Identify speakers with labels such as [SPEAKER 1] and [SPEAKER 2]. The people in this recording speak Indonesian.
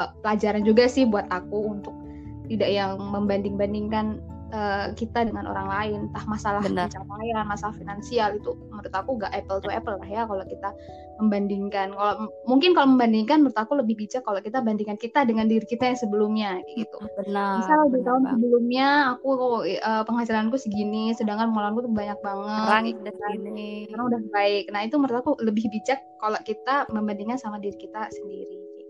[SPEAKER 1] uh, pelajaran juga sih buat aku untuk tidak yang membanding-bandingkan uh, kita dengan orang lain entah masalah
[SPEAKER 2] Benar.
[SPEAKER 1] pencapaian masalah finansial itu menurut aku nggak apple to apple lah ya kalau kita membandingkan kalau mungkin kalau membandingkan menurut aku lebih bijak kalau kita bandingkan kita dengan diri kita yang sebelumnya kayak gitu
[SPEAKER 2] benar
[SPEAKER 1] misal di
[SPEAKER 2] Ah, benar
[SPEAKER 1] tahun
[SPEAKER 2] banget.
[SPEAKER 1] sebelumnya aku eh, penghasilanku segini sedangkan pengeluaranku tuh banyak banget
[SPEAKER 2] Sekarang
[SPEAKER 1] gitu
[SPEAKER 2] udah
[SPEAKER 1] kan.
[SPEAKER 2] gini
[SPEAKER 1] Sekarang udah baik nah itu menurut aku lebih bijak kalau kita membandingkan sama diri kita sendiri